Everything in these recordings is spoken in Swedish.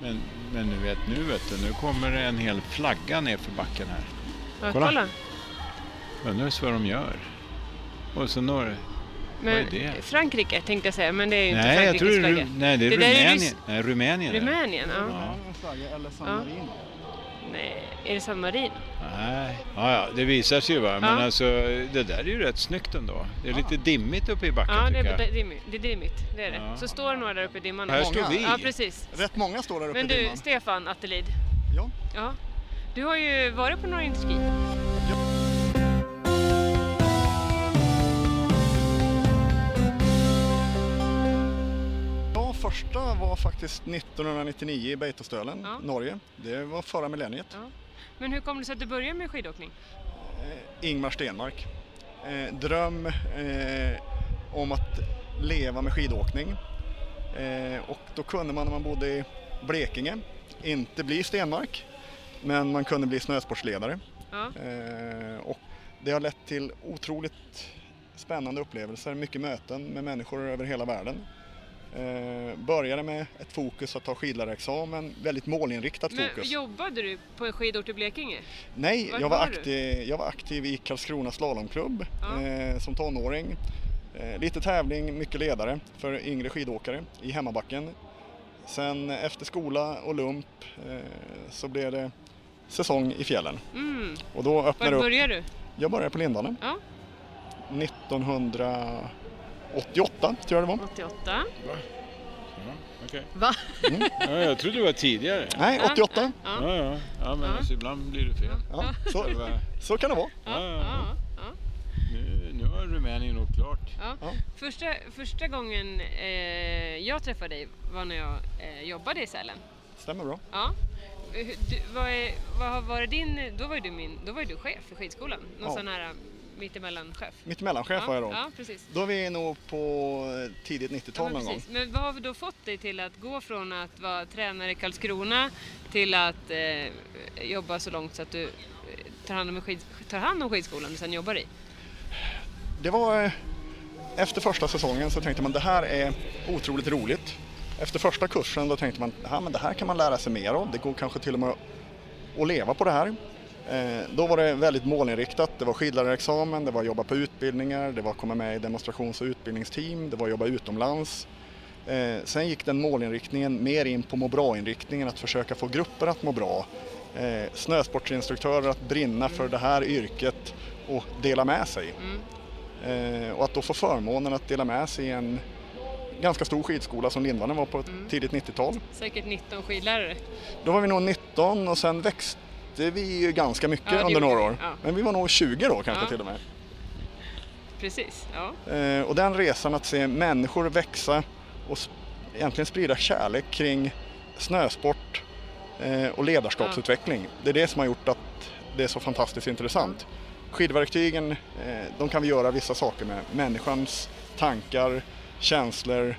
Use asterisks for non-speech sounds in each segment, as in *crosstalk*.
Men, men nu vet, nu vet du, nu kommer det en hel flagga ner för backen här. Ja, Kolla. kolla. Undrar så vad de gör. Och så några... Men Vad är det? Frankrike tänkte jag säga, men det är ju inte Nej, jag tror det Frankrikes är, Ru- flagga. nej, det är Det där är Rumänien. ryss- nej, Rumänien. är det. Rumänien? Ja. Ja. Rumänien flagga eller San Ja. Marino. Nej, är det San Marino? Nej. Ja, ja, det visar sig ju va. Men Ja. alltså, det där är ju rätt snyggt ändå. Det är lite dimmigt uppe i backen Ja, det tycker är, jag. dimmigt. det är dimmigt. Det är det. Ja. Så står några där uppe i dimman. Här och- står vi. Ja, precis. Rätt många står där uppe Men i du, dimman. Stefan Attelid. Ja. Ja. Du har ju varit på några interski. ja, första var faktiskt 1999 i Beitostölen, Ja. Norge. Det var förra millenniet. Ja. Men hur kom det sig att du började med skidåkning? Eh, Ingmar Stenmark. Eh, dröm eh, om att leva med skidåkning. Eh, och då kunde man när man bodde i Blekinge inte bli Stenmark, men man kunde bli snösportsledare. Ja. Eh, och det har lett till otroligt spännande upplevelser, mycket möten med människor över hela världen. Eh, började med ett fokus att ta skidlärarexamen, väldigt målinriktat Men fokus. jobbade du på en skidort i Blekinge? Nej, Vart jag var, var du? aktiv, jag var aktiv i Karlskrona slalomklubb Ja. eh, som tonåring. Eh, lite tävling, mycket ledare för yngre skidåkare i hemmabacken. Sen eh, efter skola och lump eh, så blev det säsong i fjällen. Mm. Och då Var öppnade det upp. började du? Jag började på Lindane Ja. 1988 tror jag det var. 88. Okej. Va? Ja, jag trodde det var tidigare. Nej, 88. Ja. Ja, ja. ja men Ja. alltså, ibland blir det fel. Ja, så, Det var- så kan det vara. Ja. Ja. Ja. Nu, nu har Rumänien nog klart. Ja. Ja. Första, första gången eh, jag träffade dig var när jag eh, jobbade i Sälen. Stämmer bra. Ja. Hur- Du, vad, är, vad har varit din, då var ju du, min, då var ju du chef för skidskolan. Någon Ja. sån här eh, mittemellan-chef. Mitt mellanchef var jag då. Ja, precis. Då är vi nog på eh, tidigt Ja, 90-tal men, någon gång. precis. men vad har vi då fått dig till att gå från att vara tränare i Karlskrona till att eh, jobba så långt så att du eh, tar hand om, en skid, tar hand om skidskolan och sen jobbar i? det var eh, efter första säsongen så tänkte man det här är otroligt roligt. Efter första kursen då tänkte man ja, men det här kan man lära sig mer av. Det går kanske till och med att leva på det här. Eh, Då var det väldigt målinriktat. Det var skidlärarexamen, det var jobba på utbildningar, det var komma med i demonstrations och utbildningsteam, det var jobba utomlands. Eh, Sen gick den målinriktningen mer in på må bra-inriktningen, att försöka få grupper att må bra. Eh, Snösportsinstruktörer att brinna för det här yrket och dela med sig. Eh, och att då få förmånen att dela med sig i en ganska stor skidskola som Lindvallen var på Mm. tidigt 90-tal. Säkert 19 skidlärare. Då var vi nog 19 och sen växte vi ju ganska mycket Ja, det under några gjorde år. vi, ja. Men vi var nog 20 då kanske Ja. till och med. Precis, ja. Eh, och den resan att se människor växa och sp- egentligen sprida kärlek kring snösport eh, och ledarskapsutveckling. Det är det som har gjort att det är så fantastiskt intressant. Skidverktygen, eh, de kan vi göra vissa saker med. Människans tankar, känslor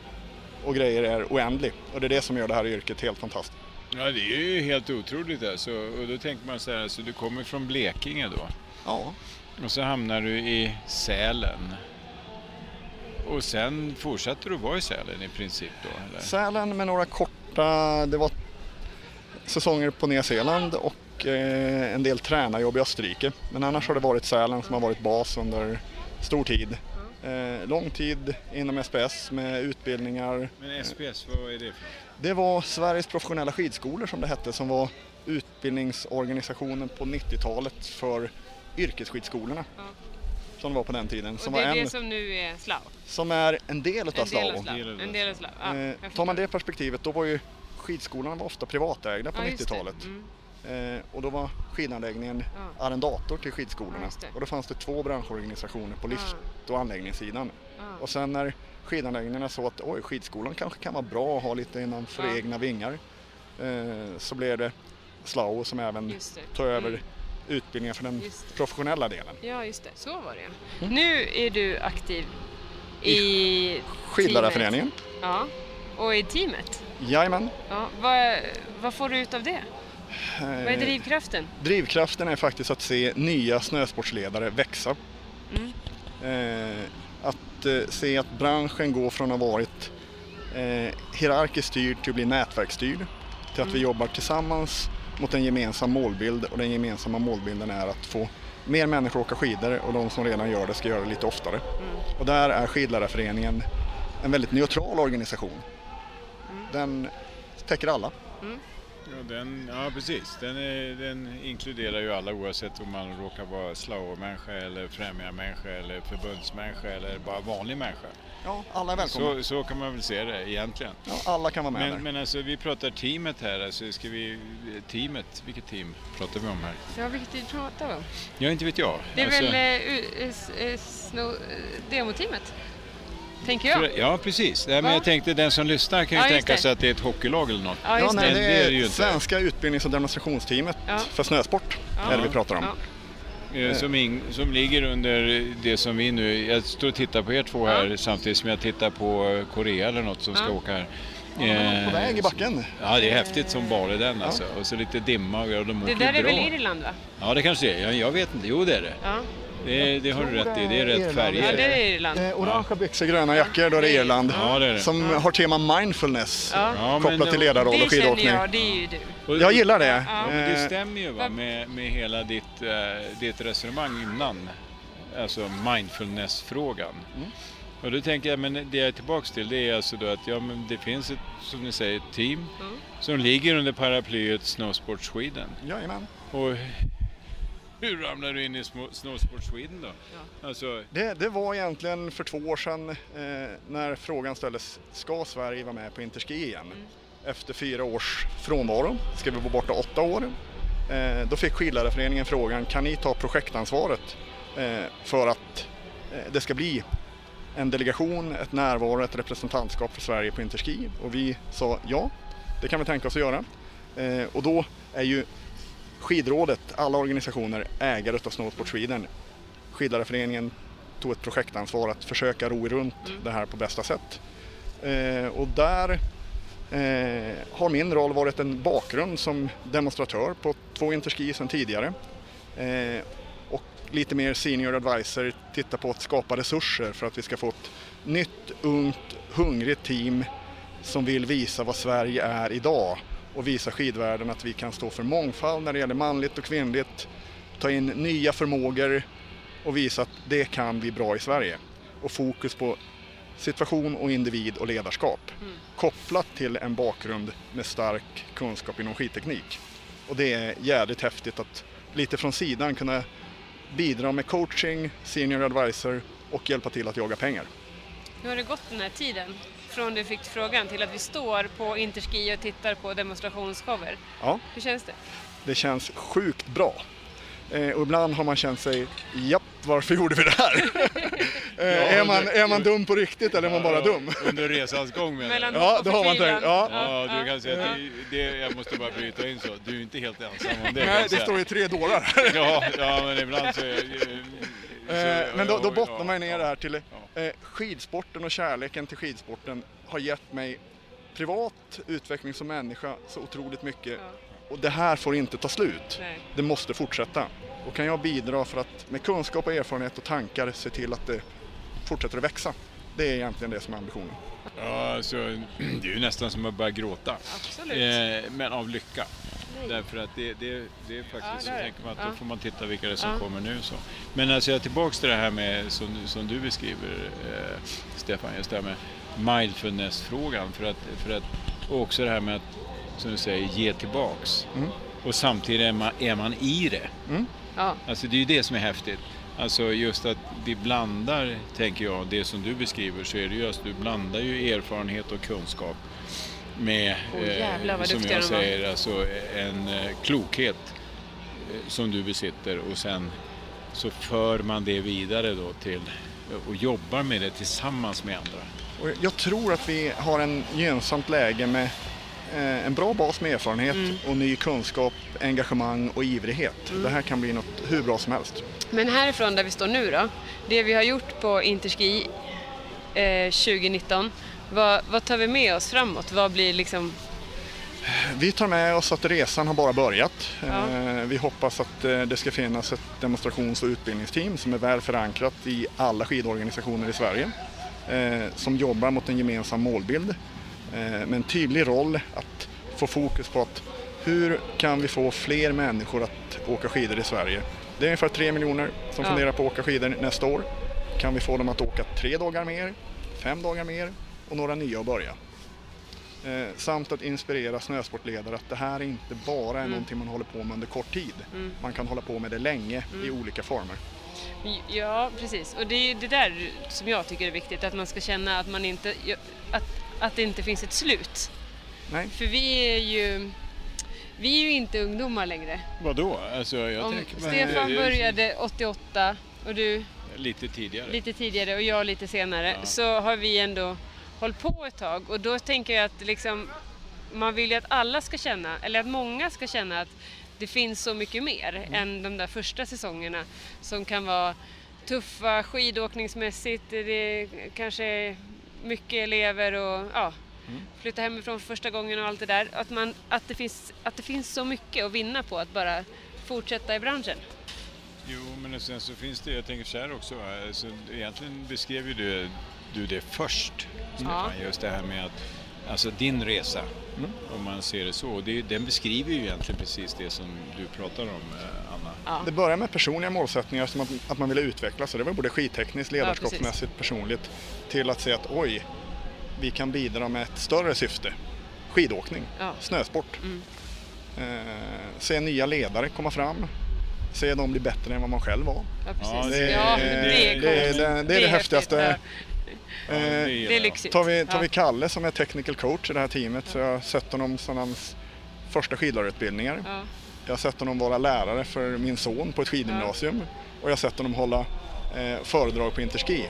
och grejer är oändlig. Och det är det som gör det här yrket helt fantastiskt. Ja, det är ju helt otroligt alltså. Och då tänker man så här, alltså, du kommer från Blekinge då. Ja, Och så hamnar du i Sälen. Och sen fortsatte du vara i Sälen i princip då? Eller? Sälen med några korta, det var säsonger på Nya Zeeland och eh, en del tränarjobb i Österrike. Men annars har det varit Sälen som har varit bas under stor tid. Eh, lång tid inom SPS med utbildningar. Men SPS, vad är det för Det var Sveriges professionella skidskolor som det hette som var utbildningsorganisationen på 90-talet för yrkesskidskolorna. Ja. Som det var på den tiden. Och Som, det var är en, det som nu är slau. som är en del En utav del av Slavo. slau. En del av slau. Ja, jag Eh, tar förstår. man det perspektivet, då var ju skidskolan var ofta privatägda på Ja, just det. 90-talet. Mm. Eh, och då var skidanläggningen Ja. arrendator till Ja, skidskolorna. just det. och då fanns det två branschorganisationer på lift och anläggningssidan. Ja. Och sen när skidanläggningarna såg att oj, skidskolan kanske kan vara bra att ha lite innanför Ja. egna vingar. Eh, så blev det Slao som även Just det. tog över Mm. utbildningen för den Just det. professionella delen. Ja, just det. Så var det ja. Nu är du aktiv Mm. i Skidlärarföreningen, teamet. Ja, och i teamet. jajamän. Ja, vad, vad får du ut av det? Vad är Eh, drivkraften? Drivkraften är faktiskt att se nya snösportsledare växa. Eh, att eh, se att branschen går från att ha varit eh, hierarkiskt styrd till att bli nätverksstyrd. till att vi jobbar tillsammans mot en gemensam målbild och den gemensamma målbilden är att få mer människor att åka skidor och de som redan gör det ska göra det lite oftare. Och där är Skidlärarföreningen en väldigt neutral organisation. Den täcker alla. Ja, den, ja precis. Den, är, den inkluderar ju alla oavsett om man råkar vara slaomänniska eller främjarmänniska eller förbundsmänniska eller bara vanlig människa. Ja, alla är välkomna. Så, så kan man väl se det egentligen. Ja, alla kan vara med där. Men, men alltså vi pratar teamet här, alltså ska vi... Teamet, vilket team pratar vi om här? Ja, vilket tid pratar vi om? Ja, inte vet jag. Det är alltså, väl eh, u- s- eh, sno- eh, demoteamet? Tänker jag. för- Ja, precis. Nej, men Va? jag tänkte den som lyssnar kan ju Ja, just tänka det. sig att det är ett hockeylag eller något. Ja, Ja, just nej, Men det det är är det ju inte. Svenska utbildnings och demonstrationsteamet Ja. för snösport Ja. är det vi pratar om. Ja. Eh, Som, ing, som ligger under det som vi nu... Jag står och tittar på er två här samtidigt som jag tittar på eh, Korea eller något som ska Ja. åka här. På Eh, väg i backen. Ja, det är häftigt som bara den alltså. Och så lite dimma och de åker Det ju där är bra. väl Irland va? Ja, det kanske det är. Jag, jag vet inte. Jo, det är det. Ja, Det, det har du tror rätt i. det Det är är rätt Irland. ja färger. det är Irland. Eh, orangea byxor, gröna jackor, då är det Irland. Ja, det är det. Som har tema mindfulness Ja. Ja, men- kopplat till ledarroll Det och känner skidåkning. jag, det är ju du. Och- Jag gillar det. Ja. Men det Eh, stämmer ju va, med, med hela ditt, eh, ditt resonemang innan. Alltså mindfulness-frågan. Mm. Och då tänker jag, men det jag är tillbaks till det är alltså då att ja, men det finns ett, som ni säger, ett team Mm. som ligger under paraplyet Snowsport Sweden. Jajamän. Och hur ramlar du in i små- Snowsport Sweden då? Alltså, Det, det var egentligen för två år sedan eh, när frågan ställdes, ska Sverige vara med på Interski igen? Efter fyra års frånvaro, ska vi vara borta åtta år? Eh, då fick skidlärarföreningen frågan, kan ni ta projektansvaret eh, för att eh, det ska bli en delegation, ett närvaro, ett representantskap för Sverige på Interski? Och vi sa ja, det kan vi tänka oss att göra. Eh, och då är ju Skidrådet, alla organisationer, ägare av Snowsport Sweden Skidlärarföreningen tog ett projektansvar att försöka ro runt det här på bästa sätt. Eh, och där eh, har min roll varit en bakgrund som demonstratör på två Interski sedan tidigare. Eh, och lite mer senior advisor, titta på att skapa resurser för att vi ska få ett nytt, ungt, hungrigt team som vill visa vad Sverige är idag och visa skidvärlden att vi kan stå för mångfald när det gäller manligt och kvinnligt, ta in nya förmågor och visa att det kan vi bra i Sverige. Och fokus på situation och individ och ledarskap kopplat till en bakgrund med stark kunskap inom skidteknik. Och det är jävligt häftigt att lite från sidan kunna bidra med coaching, senior advisor och hjälpa till att jaga pengar. Nu har det gått den här tiden från du fick frågan till att vi står på Interski och tittar på demonstrationsshower. Ja. Hur känns det? Det känns sjukt bra. Eh, och ibland har man känt sig, japp, varför gjorde vi det här? eh, är, man, är man dum på riktigt eller är man bara dum? Under resans gång menar Mellan jag. Ja, hopp och det har man förtvivlan. tänkt, ja. Ja, du kan säga att det, det, jag måste bara bryta in så. Du är inte helt ensam om det. kan Nej, jag det säga. står ju tre dårar här. Ja, ja, men ibland så... är- Eh, så- Men då, då ja, bottnar man ju ja. ner det här till eh, skidsporten och kärleken till skidsporten har gett mig privat utveckling som människa så otroligt mycket. Och det här får inte ta slut. Nej. Det måste fortsätta. Och kan jag bidra för att med kunskap och erfarenhet och tankar se till att det fortsätter att växa. Det är egentligen det som är ambitionen. Ja, alltså, det är ju nästan som att börja gråta. Absolut. Eh, men av lycka. Därför att det, det, det är faktiskt Ja, så det är det. tänker man att Ja. då får man titta vilka det är som Ja. kommer nu. Så. Men alltså jag är tillbaks till det här med som, som du beskriver eh, Stefan, just det här med mindfulness-frågan. För att, för att, och också det här med att, som du säger, ge tillbaks. Mm. Och samtidigt är man, är man i det. Ja. Alltså det är ju det som är häftigt. Alltså just att vi blandar, tänker jag, det som du beskriver så är det ju att du blandar ju erfarenhet och kunskap med, eh, Åh, jävlar, vad som duktiga jag de var. säger, alltså en eh, klokhet eh, som du besitter och sen så för man det vidare då till eh, och jobbar med det tillsammans med andra. Och jag tror att vi har en gynnsamt läge med eh, en bra bas med erfarenhet och ny kunskap, engagemang och ivrighet. Det här kan bli något hur bra som helst. Men härifrån där vi står nu då, det vi har gjort på Interski eh, 2019, vad, vad tar vi med oss framåt? Vad blir liksom... Vi tar med oss att resan har bara börjat. Ja. Eh, Vi hoppas att eh, det ska finnas ett demonstrations och utbildningsteam som är väl förankrat i alla skidorganisationer i Sverige. eh, Som jobbar mot en gemensam målbild eh, med en tydlig roll att få fokus på att hur kan vi få fler människor att åka skidor i Sverige? Det är ungefär 3 miljoner som Ja. funderar på att åka skidor nästa år. Kan vi få dem att åka tre dagar mer, fem dagar mer och några nya att börja? Eh, samt att inspirera snösportledare att det här är inte bara Mm. är någonting man håller på med under kort tid. Man kan hålla på med det länge i Mm. olika former. Ja, precis. Och det är ju det där som jag tycker är viktigt, att man ska känna att, man inte, att, att det inte finns ett slut. Nej, För vi är ju, vi är ju inte ungdomar längre. Vadå? Alltså, jag Om tänker, Stefan började 88 och du Lite tidigare. lite tidigare och jag lite senare Ja. så har vi ändå hållit på ett tag och då tänker jag att liksom, man vill ju att alla ska känna, eller att många ska känna att det finns så mycket mer än de där första säsongerna som kan vara tuffa skidåkningsmässigt, det är kanske mycket elever och ja, flytta hemifrån för första gången och allt det där. Att, man, att, det finns, att det finns så mycket att vinna på att bara fortsätta i branschen. Jo, men sen så finns det, jag tänker så här också, va, alltså, egentligen beskrev ju du, du det först, Stefan, just det här med att, alltså din resa, Mm. om man ser det så, Och det, den beskriver ju egentligen precis det som du pratar om, eh, Anna. Ja. Det börjar med personliga målsättningar som att, att man ville utvecklas. Så det var både skidtekniskt, ledarskapsmässigt, precis. personligt. Till att se att oj, vi kan bidra med ett större syfte. Skidåkning, Ja. Mm. snösport. Eh, se nya ledare komma fram. Se dem bli bättre än vad man själv var. Ja, precis. Ja, Ja, det- det, det- är coolt. det- det- det är det häftigaste. häftigt. Ja, Eh, gillar Det är jag. lyxigt. Tar vi, tar Typ. ja. vi Kalle som är technical coach i det här teamet så jag har sett honom sedan hans första skidlärarutbildningar. Ja. Jag har sett honom vara lärare för min son på ett skidgymnasium och jag har sett honom hålla eh, föredrag på Interski.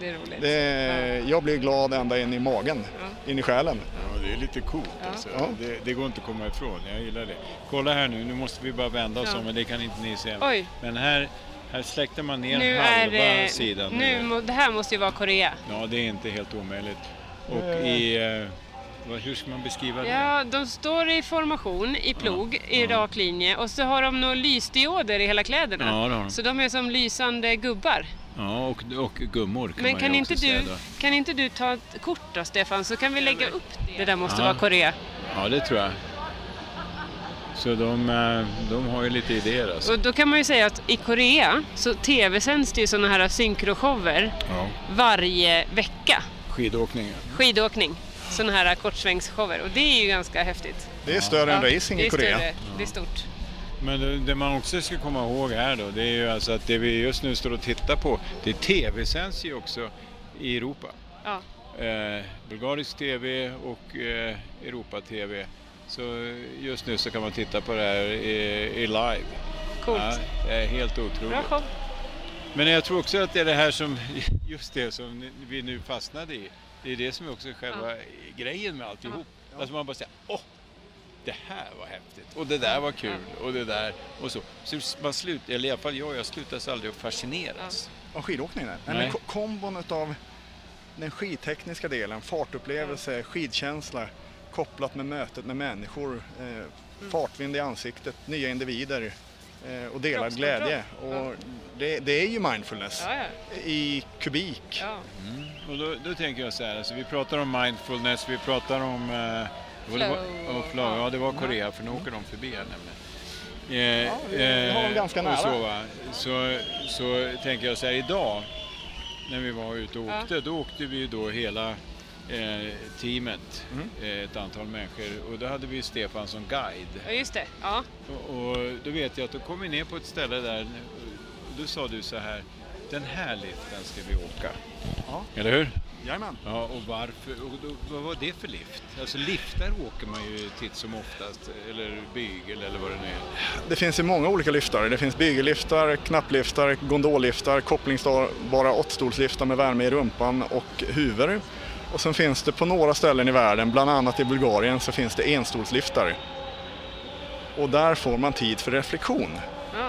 Det är roligt. Det, Jag blir glad ända in i magen, in i själen. Ja, det är lite coolt alltså. Ja. Det, det går inte att komma ifrån, jag gillar det. Kolla här nu, nu måste vi bara vända oss Ja. om, men det kan inte ni se. Oj. Men här, här släckte man ner Nu är halva det... sidan. Nu, må- det här måste ju vara Korea. Ja, det är inte helt omöjligt. Och i, eh, vad- hur ska man beskriva det? Ja, de står i formation i plog i rak linje och så har de några lysdioder i hela kläderna. Ja, det har de. Så de är som lysande gubbar. Ja, och, och gummor kan Men man kan ju inte, också du, säga då. kan inte du ta ett kort då Stefan så kan vi lägga upp det. Det där måste Ja. vara Korea. Ja, det tror jag. Så de, eh, de har ju lite idéer alltså. Och då kan man ju säga att i Korea så tv-sänds det ju sådana här synkroshower Ja. varje vecka. Skidåkning. skidåkning. Sådana här kortsvängsshower och det är ju ganska häftigt. Det är större än Ja, racing det i är Korea. Större, det är stort. Men det- det man också ska komma ihåg här då, det är ju alltså att det vi just nu står och tittar på, det tv-sänds ju också i Europa. Ja. Eh, bulgarisk tv och eh, Europa-tv. Så just nu så kan man titta på det här i, i live. Coolt. Ja, det är helt otroligt. Bra show. Men jag tror också att det är det här som, *laughs* just det som ni- vi nu fastnade i. Det är det som är också själva grejen med alltihop. Alltså man bara säger, åh, det här var häftigt och det där var kul och det där och så. Så man slutar, eller i alla fall jag, jag slutas aldrig att fascineras. Av skidåkning? Nej. Nej. Nej. Men ko- kombon utav den skidtekniska delen, fartupplevelse, skidkänsla kopplat med mötet med människor, eh, Mm. fartvind i ansiktet, nya individer eh, och delad Kroppskontroll. glädje. Och det, det är ju mindfulness Ja, ja. i kubik. Ja. Och då, då tänker jag så här, alltså vi pratar om mindfulness, vi pratar om eh, vad det var- Flow. ja, flow. Ja, det var Korea, för nu åker de förbi här nämligen. Eh, Ja, vi- vi har dem ganska och nära. Så, va? så, så tänker jag så här, idag när vi var ute och Ja. åkte, då åkte vi ju då hela eh, teamet, eh, ett antal människor, och då hade vi Stefan som guide. ja, just det. Ja. Och, och då vet jag att då kom vi ner på ett ställe där, och då sa du så här, den här liften ska vi åka. Ja. Eller hur? Jajamän. Ja, och varför? Och då, vad var det för lift? Alltså liftar åker man ju titt som oftast, eller bygel eller vad det nu är. Det finns ju många olika lyftare. Det finns bygeliftar, knappliftar, gondolliftar, kopplingsbara åttstolsliftar med värme i rumpan och huvor. Och sen finns det på några ställen i världen, bland annat i Bulgarien, så finns det enstolsliftar. Och där får man tid för reflektion. Ja.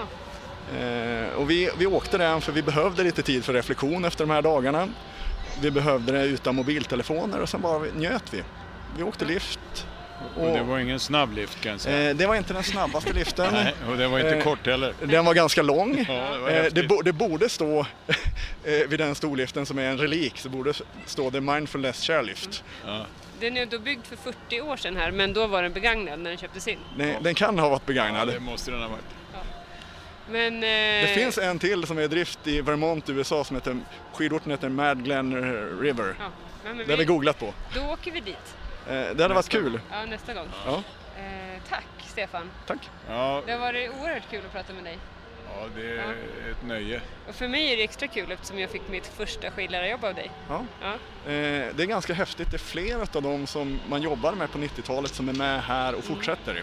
Eh, och vi, vi åkte den för vi behövde lite tid för reflektion efter de här dagarna. Vi behövde det utan mobiltelefoner och sen bara njöt vi. Vi åkte lift. Och det var ingen snabb lift kan jag säga. eh, det var inte den snabbaste liften. *laughs* Nej, och det var inte eh, kort heller. Den var ganska lång. Ja, det var Eh, det, häftigt. bo, det borde stå *laughs* eh, vid den storliften som är en relik, så borde stå The Mindfulness Chairlift. Ja. Den är då byggd för 40 år sedan här men då var den begagnad när den köptes in. Den, den kan ha varit Ja, begagnad. det måste den ha varit. Men, eh, Det finns en till som är i drift i Vermont, USA, som heter, skidorten heter Mad Glen River. ja, men, men Det har vi vi, googlat på. Eh, då åker vi dit Det hade varit kul. ja, nästa gång. Ja, Eh, tack Stefan! tack. Ja, Det har varit oerhört kul att prata med dig. ja, det är ett nöje. Och för mig är det extra kul eftersom jag fick mitt första skidlärarjobb av dig. Ja. Ja. Eh, Det är ganska häftigt. Det är flera av dem som man jobbade med på 90-talet som är med här och fortsätter.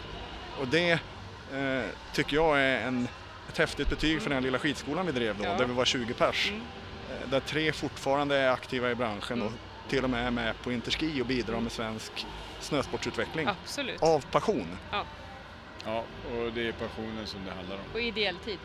Och det eh, tycker jag är en, ett häftigt betyg för den här lilla skidskolan vi drev då, Ja. där vi var 20 pers. Eh, Där tre fortfarande är aktiva i branschen och till och med är med på Interski och bidrar med svensk snösportsutveckling. Absolut. Av passion. Ja. Ja, och det är passionen som det handlar om. Och ideell tid.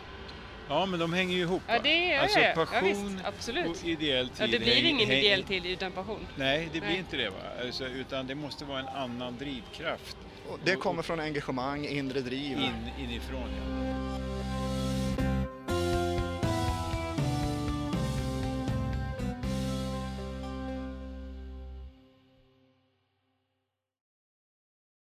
Ja, men de hänger ju ihop. Ja, va? det gör alltså jag. Ja, passion visst, absolut. och ideell tid. Ja, det blir hänger- ingen häng- ideell tid utan passion. Nej, det blir Nej. inte det. Va? Alltså, utan det måste vara en annan drivkraft Och det kommer från engagemang, inre driv. in, inifrån. Ja.